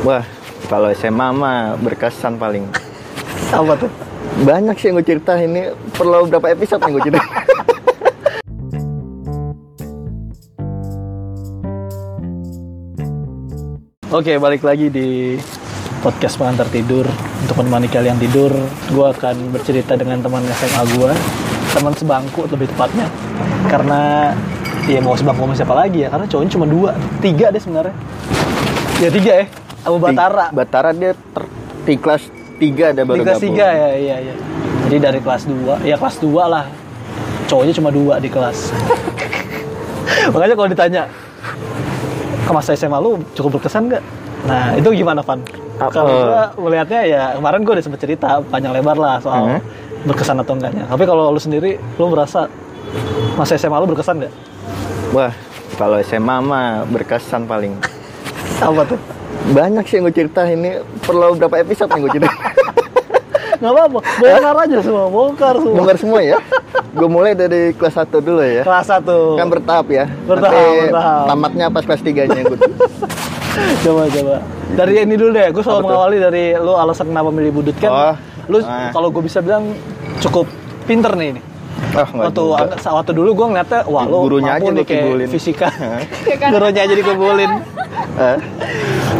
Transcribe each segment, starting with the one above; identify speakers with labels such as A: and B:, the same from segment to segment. A: Wah, kalau SMA mah berkesan paling. Apa tuh? Banyak sih yang gue cerita ini. Perlu berapa episode yang gue cerita?
B: Oke, balik lagi di podcast pengantar tidur untuk menemani kalian tidur. Gua akan bercerita dengan teman SMA gua, teman sebangku lebih tepatnya. Karena ya mau sebangku sama siapa lagi ya? Karena cowoknya cuma dua, tiga deh sebenarnya. Ya tiga ya, sama Batara.
A: Di- Batara dia ter- di kelas 3 ada
B: Di
A: baru
B: kelas
A: gabung.
B: 3 ya, iya iya. Jadi dari kelas 2, ya kelas 2 lah. Cowoknya cuma dua di kelas. Makanya kalau ditanya, ke masa SMA lu cukup berkesan nggak? Nah, itu gimana, Van?
A: Apa?
B: Kalau gua melihatnya ya, kemarin gua udah sempet cerita panjang lebar lah soal
A: Hmm.
B: berkesan atau enggaknya. Tapi kalau lu sendiri, lu merasa masa SMA lu berkesan nggak?
A: Wah, kalau SMA mah berkesan paling.
B: Apa tuh?
A: Banyak sih yang gue cerita ini. Perlu berapa episode yang gue cerita?
B: Nggak apa-apa, bongkar aja semua, bongkar semua.
A: Bongkar semua ya. Gue mulai dari kelas 1 dulu ya.
B: Kelas 1.
A: Kan bertahap ya.
B: Bertahap,
A: Nanti
B: bertahap.
A: Tamatnya pas kelas 3-nya yang gue
B: coba coba dari ini dulu deh gue selalu
A: Apa tuh?
B: mengawali dari lu alasan kenapa milih budut kan
A: Oh.
B: lu
A: Ah.
B: kalau gue bisa bilang cukup pinter nih ini
A: Oh, nggak
B: waktu
A: juga.
B: angka- waktu dulu gue ngeliatnya wah lu
A: Gurunya
B: mampu
A: aja
B: nih kayak
A: dikibulin.
B: fisika
A: Hah?
B: gurunya aja dikebulin
A: Eh,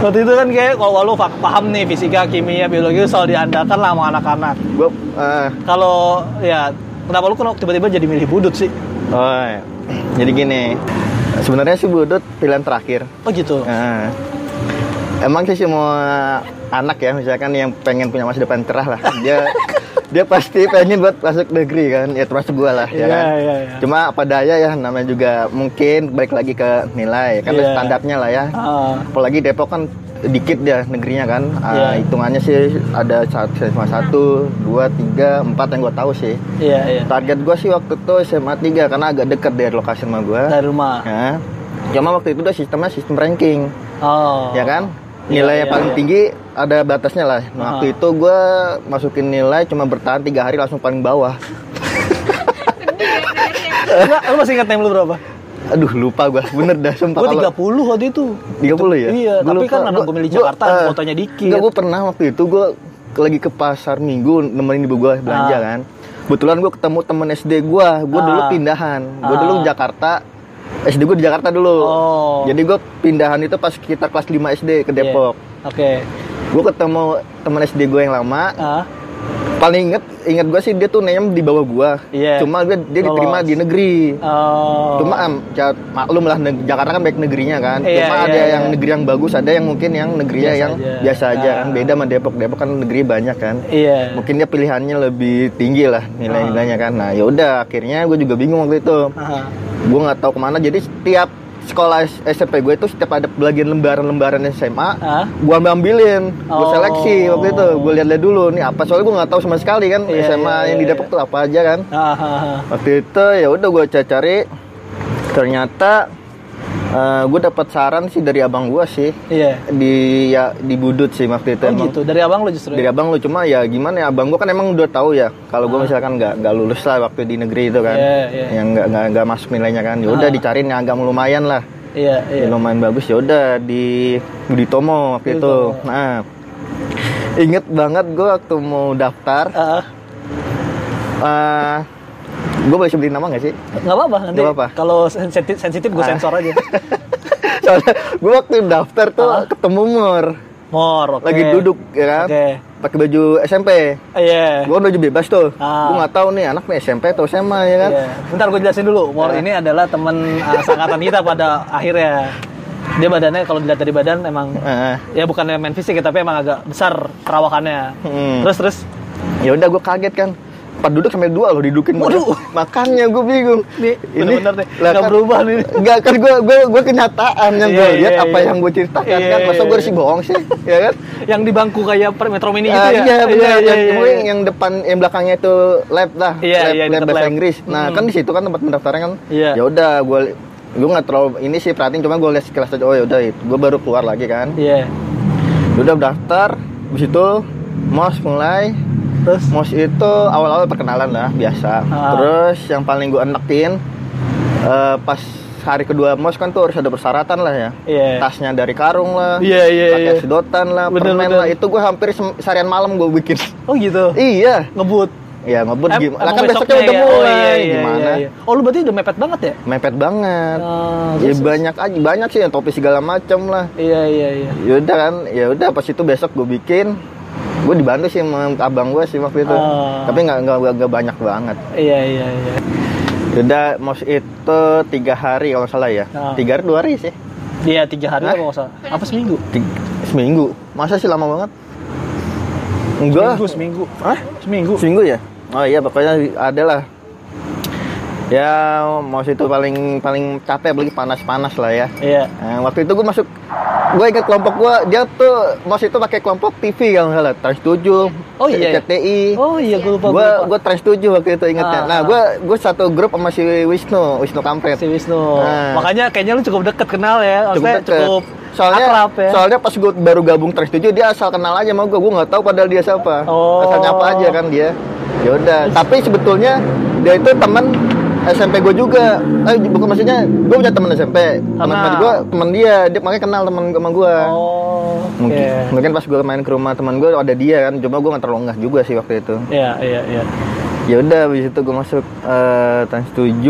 B: waktu itu kan kayak kalau wah, lu fa- paham nih fisika kimia biologi itu selalu diandalkan lah sama anak-anak
A: gue eh,
B: kalau ya kenapa lu kenapa tiba-tiba jadi milih budut sih
A: oh, ya. jadi gini sebenarnya sih budut pilihan terakhir
B: oh gitu
A: Eh, emang sih semua anak ya misalkan yang pengen punya masa depan cerah lah dia dia pasti pengen buat masuk negeri kan ya termasuk gue lah ya
B: Iya,
A: kan?
B: iya, iya.
A: cuma apa daya ya namanya juga mungkin balik lagi ke nilai kan
B: Iya.
A: standarnya lah ya
B: Ah.
A: apalagi Depok kan dikit ya negerinya kan Ah,
B: Iya.
A: hitungannya sih ada satu cuma satu dua tiga empat yang gue tahu sih
B: iya iya
A: Target gue sih waktu itu SMA 3 karena agak deket dari lokasi rumah gue.
B: dari rumah
A: Ya. Cuma waktu itu udah sistemnya sistem ranking,
B: oh
A: ya kan?
B: Iya,
A: Nilai
B: iya,
A: yang paling
B: iya.
A: tinggi ada batasnya lah. Nah,
B: Ah.
A: waktu itu gue masukin nilai cuma bertahan tiga hari langsung paling bawah.
B: Enggak, lu masih ingat name lu berapa?
A: Aduh lupa gue, bener dah sumpah.
B: Gue
A: kalau-
B: 30 waktu itu.
A: 30 ya?
B: Iya,
A: Gua
B: tapi
A: lupa.
B: kan anak
A: Gua-
B: gue milih
A: gua,
B: Jakarta,
A: eh,
B: fotonya dikit.
A: Enggak, gue pernah waktu itu gue lagi ke pasar minggu nemenin ibu gue belanja
B: Ah.
A: kan. Kebetulan gue ketemu temen SD gue, gue dulu
B: Ah.
A: pindahan. Gue
B: Ah.
A: dulu ke Jakarta, SD gue di Jakarta dulu.
B: Oh.
A: Jadi gue pindahan itu pas sekitar kelas 5 SD ke
B: Iya.
A: Depok.
B: Oke.
A: Gue ketemu temen SD gue yang lama.
B: Ah,
A: Paling inget, inget gue sih dia tuh name di bawah gue.
B: Iya.
A: Cuma gue dia diterima
B: Lolos.
A: di negeri.
B: oh.
A: Cuma em, ja- maklum lah neg- Jakarta kan baik negerinya kan.
B: Iya,
A: Cuma
B: iya,
A: ada yang
B: iya.
A: negeri yang bagus, ada yang mungkin yang negerinya
B: Biasa
A: yang
B: aja.
A: biasa aja kan.
B: Ah.
A: Beda sama Depok. Depok kan negeri banyak kan.
B: Iya.
A: Mungkin dia pilihannya lebih tinggi lah nilai-nilainya kan. Nah, ya udah akhirnya gue juga bingung waktu itu.
B: Ah,
A: Gue nggak tahu kemana. Jadi setiap sekolah S- SMP gue itu setiap ada bagian lembaran-lembaran SMA,
B: Ah.
A: gue ambil ambilin, gue
B: Oh.
A: seleksi waktu itu. Gue lihat-lihat dulu nih apa. Soalnya gue nggak tahu sama sekali kan
B: Iya,
A: SMA
B: iya,
A: yang di
B: iya,
A: Depok tuh apa aja kan
B: ah, ah, ah.
A: waktu itu ya udah gue cari ternyata gue dapat saran sih dari abang gue sih
B: Iya.
A: di ya di budut sih waktu itu
B: Oh
A: emang
B: gitu, dari abang lu justru.
A: dari
B: ya?
A: abang lu cuma ya gimana ya abang gue kan emang udah tahu ya kalau gue misalkan nggak nggak lulus lah waktu di negeri itu kan
B: Ah. Iya, iya.
A: yang nggak nggak nggak masuk nilainya kan ya udah
B: Ah.
A: dicariin yang agak lumayan lah
B: Iya, iya.
A: Ya, lumayan bagus ya udah di Budi Tomo waktu
B: Budi
A: itu
B: Tomo.
A: nah inget banget gue waktu mau daftar
B: Ah, ah.
A: gue boleh sebutin nama nggak sih
B: nggak apa-apa nanti.
A: Nggak apa-apa.
B: Kalau sensitif, sensitif gue
A: Ah.
B: sensor aja.
A: Soalnya gue waktu daftar tuh
B: Ah.
A: ketemu Mur
B: Mor, oke.
A: Lagi duduk ya kan
B: Oke.
A: Pakai baju SMP
B: Iya.
A: Gue baju bebas tuh
B: Ah.
A: Gue gak tahu nih anak nih SMP atau SMA ya kan
B: Iya. Bentar gue jelasin dulu. Mor
A: Ya.
B: ini adalah teman ah, seangkatan kita pada akhirnya. Dia badannya kalau dilihat dari badan emang
A: Heeh.
B: ya bukan main fisik ya, tapi emang agak besar perawakannya.
A: Hmm.
B: Terus terus
A: ya udah gue kaget kan Empat duduk sampai dua loh didukin gua.
B: Waduh.
A: Makanya gue bingung
B: nih bener-bener nih
A: lah
B: nggak
A: kan-
B: berubah nih.
A: Enggak kan gue gue gue kenyataan yang gue
B: Iya,
A: lihat
B: iya,
A: apa
B: iya.
A: yang gue ceritakan
B: Iya,
A: kan masa gue
B: iya.
A: sih bohong sih ya kan
B: Yang di bangku kayak per metro mini gitu
A: Ah, Iya,
B: ya.
A: benar.
B: Iya,
A: yang,
B: iya,
A: mungkin
B: iya.
A: yang depan yang belakangnya itu lab lah,
B: Iya,
A: lab,
B: iya,
A: lab
B: deket
A: bahasa
B: lab.
A: Inggris. Nah,
B: Hmm.
A: kan di situ kan tempat pendaftaran kan.
B: Iya.
A: Ya udah gue gue nggak terlalu ini sih perhatiin cuma gue lihat sekilas aja oh ya udah gue baru keluar lagi kan
B: Iya.
A: Ya udah daftar di situ mos mulai
B: Terus
A: mos itu awal-awal perkenalan lah biasa
B: Ah.
A: terus yang paling gue enekin eh, pas hari kedua mos kan tuh harus ada persyaratan lah ya.
B: Iya.
A: Tasnya dari karung lah.
B: Iya, iya,
A: Pakai
B: iya.
A: sedotan lah,
B: Bener,
A: permen
B: bener.
A: lah. Itu gua hampir sem- seharian malam gua bikin.
B: Oh gitu.
A: iya.
B: Ngebut.
A: Ya ngebut
B: Em-
A: gimana? Lah
B: emang
A: kan besoknya udah
B: ya? Oh,
A: mulai.
B: iya, iya,
A: gimana?
B: iya, iya. Oh, lu berarti udah mepet banget ya?
A: Mepet banget.
B: Ah,
A: ya
B: terus-
A: banyak aja, banyak sih yang topi segala macam lah.
B: Iya, iya, iya.
A: Yaudah kan, ya udah pas itu besok gue bikin, gue dibantu sih sama abang gue sih waktu itu,
B: Ah.
A: tapi nggak nggak nggak- nggak banyak banget.
B: Iya, iya, iya.
A: Yaudah mos itu tiga hari kalau nggak salah ya,
B: Ah.
A: tiga hari dua hari sih,
B: Dia Iya, tiga hari
A: Hah?
B: apa nggak salah? Apa seminggu?
A: Ti- seminggu. Masa sih lama banget? Enggak. lah.
B: Seminggu, seminggu.
A: Hah?
B: Seminggu.
A: Seminggu ya? Oh iya pokoknya ada lah. Ya mos itu paling paling capek apalagi panas-panas lah ya.
B: Iya.
A: Nah, waktu itu gue masuk, gue ingat kelompok gue, dia tuh mas itu pakai kelompok TV kalau nggak salah, Trans 7,
B: Oh, iya, iya.
A: CTI.
B: Oh iya, gue lupa.
A: gue
B: lupa.
A: gue Trans 7 waktu itu ingetnya.
B: Ah,
A: nah,
B: ah.
A: gue gue satu grup sama si Wisnu, Wisnu Kampret.
B: si Wisnu.
A: Nah.
B: Makanya kayaknya lu cukup deket kenal ya. Maksudnya
A: deket.
B: cukup,
A: soalnya
B: akrab ya.
A: soalnya pas gue baru gabung Trans 7 dia asal kenal aja sama gue, gue nggak tahu padahal dia siapa.
B: Oh.
A: Asal nyapa aja kan dia. Ya udah, tapi sebetulnya dia itu teman SMP gue juga, eh bukan maksudnya gue punya teman SMP, teman-teman
B: Kenal.
A: gue teman dia, dia makanya kenal teman sama gue.
B: Oh.
A: Mungkin,
B: iya.
A: mungkin pas gue main ke rumah teman gue ada dia kan, cuma gue nggak terlalu ngeh juga sih waktu itu.
B: Iya, iya, iya.
A: Ya udah, habis itu gue masuk eh trans 7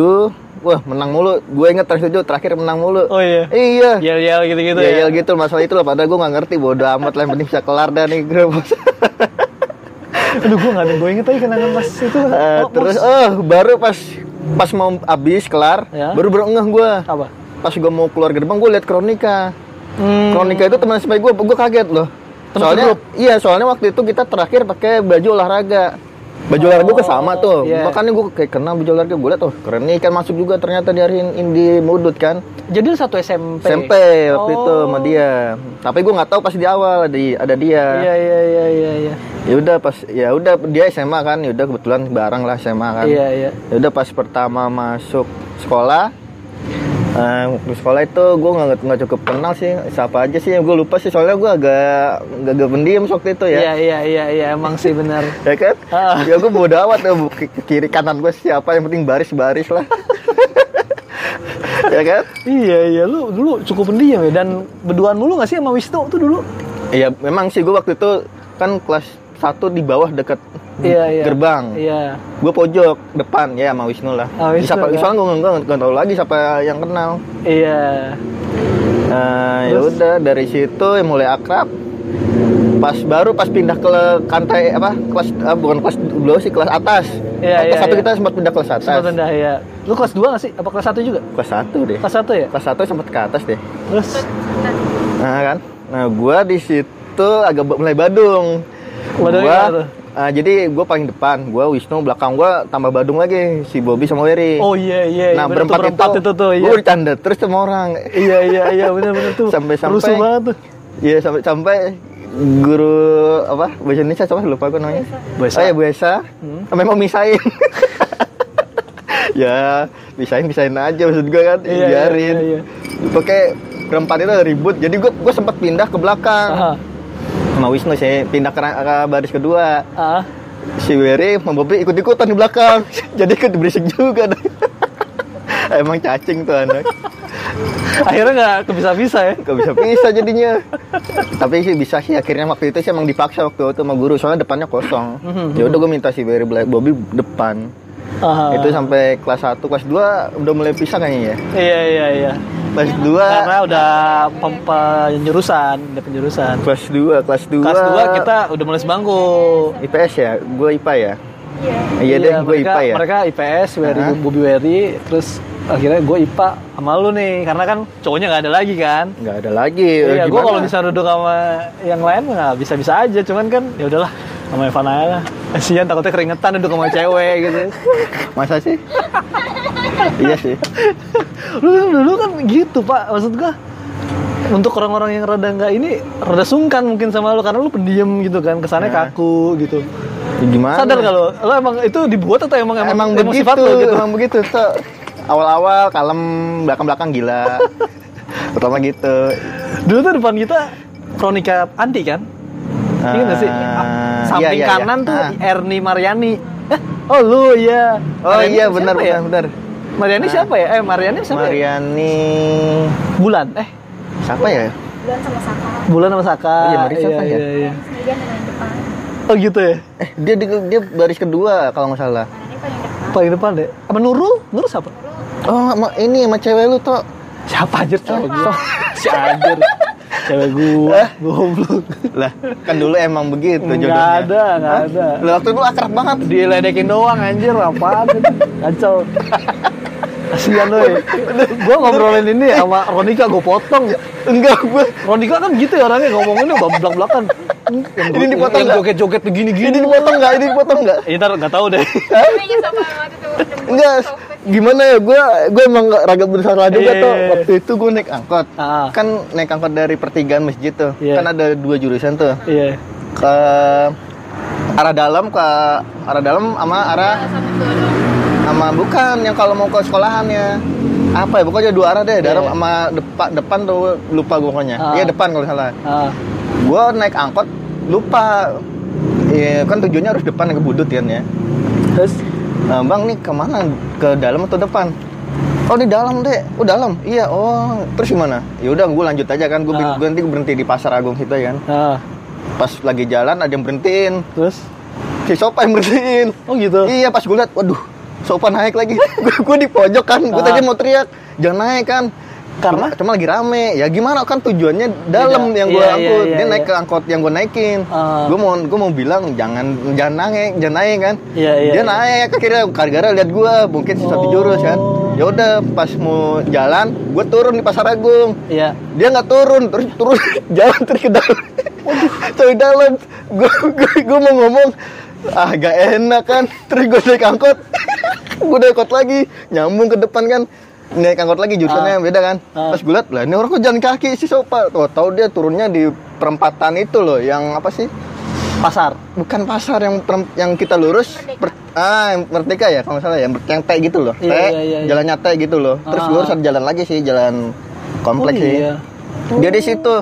A: wah menang mulu. Gue inget trans 7 terakhir menang mulu.
B: Oh iya.
A: Iya,
B: Yel-yel gitu-gitu
A: ya,
B: ya.
A: yel gitu masalah itu lah. Padahal gue nggak ngerti, bodo amat lah. Yang penting bisa kelar dah nih Eh,
B: Oh,
A: grup.
B: Aduh, gue nggak ada. Gue inget aja kenangan pas itu.
A: Eh,
B: Oh,
A: terus,
B: Mos.
A: oh baru pas pas mau abis kelar,
B: Ya.
A: baru baru ngeh gue.
B: apa?
A: Pas gue mau keluar gerbang, gue liat kronika.
B: Hmm.
A: Kronika itu teman sampai gue, gue kaget loh.
B: Teman
A: soalnya
B: segrup?
A: iya, soalnya waktu itu kita terakhir pakai baju olahraga. Baju
B: Oh,
A: olahraga gue sama tuh.
B: iya.
A: Makanya gue kayak kenal baju olahraga gue liat tuh keren nih kan masuk juga ternyata di hari ini di Mudut kan.
B: Jadi lu satu SMP.
A: SMP waktu itu sama
B: Oh.
A: dia. Tapi gue nggak tahu pas di awal ada ada dia.
B: Iya, iya, iya, iya, iya.
A: Ya udah pas ya udah dia SMA kan, ya udah kebetulan bareng lah SMA kan.
B: Iya, iya.
A: Ya udah pas pertama masuk sekolah eh, di sekolah itu gue nggak nggak cukup kenal sih siapa aja sih gue lupa sih soalnya gue agak agak agak pendiam waktu itu ya
B: Iya, iya, iya, iya, emang sih benar.
A: ya kan
B: Ah.
A: ya gue bodo amat ya bu- ke- ke kiri kanan gue siapa yang penting baris baris lah ya kan
B: iya, iya, lu dulu cukup pendiam ya dan berduaan mulu gak sih sama Wisnu tuh dulu?
A: ya memang sih gue waktu itu kan kelas satu di bawah deket
B: Iya, iya.
A: gerbang
B: Iya.
A: gue pojok depan ya sama Wisnu lah
B: Ah, Wisnu,
A: siapa
B: ya.
A: soalnya gue nggak tahu lagi siapa yang kenal
B: Iya.
A: Nah, ya
B: Terus?
A: udah dari situ ya mulai akrab. Pas baru pas pindah ke kantai apa kelas eh, bukan kelas dulu sih kelas atas.
B: Iya,
A: Kan kelas
B: iya,
A: satu
B: iya.
A: kita sempat pindah kelas atas.
B: Sempat rendah ya. Lu kelas 2 gak sih? Apa kelas 1 juga?
A: Kelas satu deh.
B: Kelas 1 ya?
A: Kelas satu sempat ke atas deh.
B: Terus
A: Nah kan. Nah gua di situ agak ba- mulai badung.
B: Badungnya
A: Gua-
B: gimana tuh?
A: ah, jadi gue paling depan, gue Wisnu belakang gue tambah Badung lagi si Bobby sama Wery.
B: Oh iya iya.
A: nah
B: bener
A: berempat,
B: tuh, berempat
A: itu,
B: itu tuh iya.
A: gue bercanda terus sama orang.
B: iya iya iya benar benar tuh.
A: Sampai-sampai-
B: rusuh banget tuh.
A: Iya sampai sampai guru apa bahasa Indonesia siapa lupa gue namanya.
B: Bu Esa.
A: Oh ya Bu Esa.
B: Hmm.
A: Sampai mau misain. ya misain misain aja maksud gue kan
B: Iya, iya,
A: biarin.
B: iya, iya.
A: Pakai berempat itu ribut. Jadi gue gue sempat pindah ke belakang.
B: Aha.
A: Sama Wisnu sih pindah ke, ke baris kedua.
B: Ah.
A: Si Wery sama Bobi ikut ikutan di belakang. Jadi ikut berisik juga. dah. Emang cacing tuh anak.
B: Akhirnya nggak kebisa-bisa ya.
A: Gak bisa bisa jadinya. Tapi sih bisa sih akhirnya waktu itu sih emang dipaksa waktu itu sama guru soalnya depannya kosong.
B: Mhm.
A: Ya udah gue minta si Barry Black Bobby depan.
B: Aha.
A: Itu sampai kelas 1, kelas 2 udah mulai pisah kayaknya ya.
B: Iya iya iya.
A: Kelas
B: Karena udah pem- penjurusan, udah penjurusan.
A: 2 kelas 2, kelas 2.
B: Kelas 2 kita udah mulai sebangku.
A: IPS ya, gue IPA ya. Iya deh, gue
B: mereka,
A: IPA ya.
B: Mereka IPS, Wery,
A: Aha.
B: Bobby Wery, terus akhirnya gue IPA sama lu nih, karena kan cowoknya nggak ada lagi kan.
A: Nggak ada lagi.
B: Iya, gue
A: gimana?
B: kalau bisa duduk sama yang lain nggak bisa-bisa aja, cuman kan ya udahlah sama Evan aja lah. Kasihan takutnya keringetan duduk sama cewek gitu.
A: Masa sih? iya sih.
B: Lu kan dulu kan gitu pak, maksud gua untuk orang-orang yang rada nggak ini rada sungkan mungkin sama lu karena lu pendiam gitu kan, kesannya
A: Nah.
B: kaku gitu.
A: Gimana?
B: Sadar nggak lu? Lu emang itu dibuat atau emang
A: Anu. emang, begitu,
B: sifat lu gitu?
A: emang begitu. So, awal-awal kalem, belakang-belakang gila. Pertama gitu.
B: Dulu tuh depan kita Kronika Anti kan? Ingat nggak sih?
A: Ah,
B: Samping
A: iya, iya, iya.
B: kanan tuh
A: Ah.
B: Erni Mariani. Eh, Oh lu iya.
A: Oh
B: Mariani
A: iya
B: siapa
A: benar
B: ya?
A: benar benar.
B: Mariani
A: Nah.
B: siapa ya? Eh, Mariani siapa ya?
A: Mariani
B: Bulan. Eh,
A: siapa ya?
C: bulan sama Saka
B: Bulan sama Saka.
A: Oh, iya, Mari siapa ya?
B: iya.
C: sendirian paling depan
B: Oh gitu ya.
A: Eh dia di, dia baris kedua kalau nggak salah.
C: Nah, ini paling depan
B: Paling depan deh. Apa Nurul? Nurul siapa?
A: Oh sama ini sama cewek lu toh.
B: Siapa Eh? aja cewek gue? Si anjir. Cewek gue. Goblok.
A: Lah kan dulu emang begitu
B: Enggak ada, enggak ada.
A: Lah waktu itu akrab banget.
B: Diledekin doang anjir, apaan itu? Kacau. Kasian lo ya. Gue ngobrolin ini ya sama Ronika, gue potong.
A: Enggak gue
B: Ronika kan gitu ya orangnya ngomonginnya belak-belakan.
A: Ini dipotong nggak?
B: joget-joget begini-gini.
A: ini dipotong nggak? Ini dipotong nggak?
B: Ya, ntar nggak tahu deh.
C: Kayaknya sama waktu itu nemu
A: Enggak,
C: topik.
A: gimana ya gue gue emang nggak ragap bersalah juga
B: Iya,
A: tuh
B: iya, iya.
A: waktu itu gue naik angkot
B: Ah.
A: kan naik angkot dari pertigaan masjid tuh
B: Iya.
A: kan ada dua jurusan tuh
B: Iya.
A: ke arah dalam ke arah dalam sama arah
C: sama dorong
A: sama bukan yang kalau mau ke sekolahannya apa ya pokoknya dua arah deh dalam
B: Iya.
A: sama depan depan tuh lupa gue pokoknya
B: Ah.
A: iya depan kalau salah
B: Ah,
A: gue naik angkot lupa Iya, kan tujuannya harus depan ke budut kan ya
B: terus
A: Nah, bang nih kemana? Ke dalam atau depan? Oh di dalam deh. Oh dalam. Iya. Oh terus gimana? Ya udah gue lanjut aja kan. Gue
B: Ah.
A: nanti berhenti di pasar agung situ ya kan.
B: ah,
A: Pas lagi jalan ada yang berhentiin.
B: terus
A: Si sopan yang berhentiin.
B: oh gitu.
A: Iya pas gue liat, waduh sopan naik lagi. gue di pojok kan. Gue
B: Ah.
A: tadi mau teriak jangan naik kan.
B: Karena?
A: Cuma- cuma lagi rame. Ya gimana kan tujuannya dalam
B: Beda.
A: yang gue
B: Iya, iya,
A: angkut.
B: iya,
A: Dia naik
B: iya.
A: ke angkot yang gue naikin.
B: Ah.
A: Gue mau gue mau bilang jangan jangan naik jangan naik kan.
B: Iya, iya,
A: Dia
B: iya.
A: naik akhirnya gara-gara lihat gue mungkin satu
B: Oh.
A: jurus kan. Ya udah pas mau jalan gue turun di pasar agung
B: Iya.
A: dia nggak turun terus turun jalan terus ke dalam terus ke dalam gue gue mau ngomong ah gak enak kan terus gue naik angkot gue naik angkot lagi nyambung ke depan kan naik angkot lagi jurusannya
B: Ah.
A: beda kan
B: Ah.
A: pas gue liat lah ini orang kok jalan kaki sih sopa tau tau dia turunnya di perempatan itu loh yang apa sih
B: Pasar.
A: bukan pasar yang perem- yang kita lurus per- ah yang merdeka ya kalau nggak salah ya yang ber- yang T gitu loh T
B: Iya, iya, iya, iya.
A: jalannya T gitu loh terus
B: Ah.
A: lurus ada jalan lagi sih jalan kompleks
B: Oh,
A: sih
B: iya.
A: dia di situ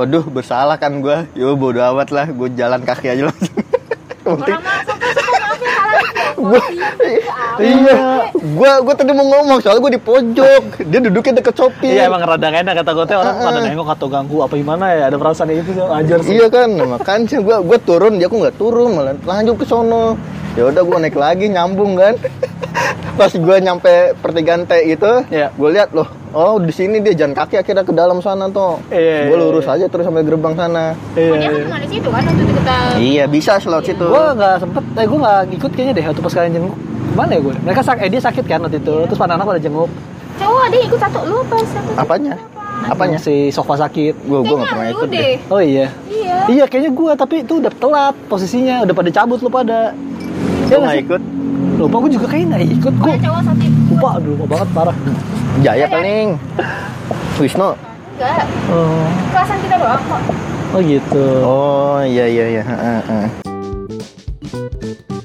A: waduh bersalah kan gua yo bodo amat lah gue jalan kaki aja langsung Yang penting
C: orang mah sampai suka maafin salah
A: gue iya gue gue tadi mau ngomong soalnya gue di pojok dia duduknya deket Shopee
B: Iya emang rada nggak enak kata gue orang
A: Ah, ah.
B: pada nengok atau ganggu apa gimana ya ada perasaan kayak gitu sih anjir sih.
A: iya kan makanya gue gue turun dia kok nggak turun malah lanjut ke sono ya udah gue naik lagi nyambung kan pas gue nyampe pertigaan T itu
B: Iya.
A: gue lihat loh oh di sini dia jalan kaki akhirnya ke dalam sana tuh
B: Iya,
A: gue
B: iya,
A: lurus
B: iya.
A: aja terus sampai gerbang sana
B: Iya.
C: dia kan
B: iya.
C: cuma di situ kan waktu itu kita
A: iya bisa slot situ
B: Gue nggak sempet, eh gue nggak ngikut kayaknya deh waktu pas kalian jenguk. Mana ya gue? Mereka sak, eh dia sakit kan waktu itu. Terus anak-anak pada jenguk.
C: cowok dia "Oh, ikut satu lu pas satu
A: apanya apanya
B: Si Sofa sakit.
A: gue gue nggak
C: Kayaknya
A: pernah
C: lu
A: ikut deh
C: deh
B: Oh iya.
C: iya
B: Iya kayaknya gue tapi itu udah telat posisinya udah pada cabut lu pada. Iya
A: gue
B: nggak
A: nggak
B: sih?
A: ikut
B: Lupa gue juga kayaknya nggak ikut gue.
C: Ada cowok "Oh, satu
B: Lupa, aduh lupa banget parah.
A: Jaya paling Wisnu
C: enggak
B: Oh,
C: kelasan kita doang kok
B: oh gitu.
A: oh iya iya iya Heeh, heeh.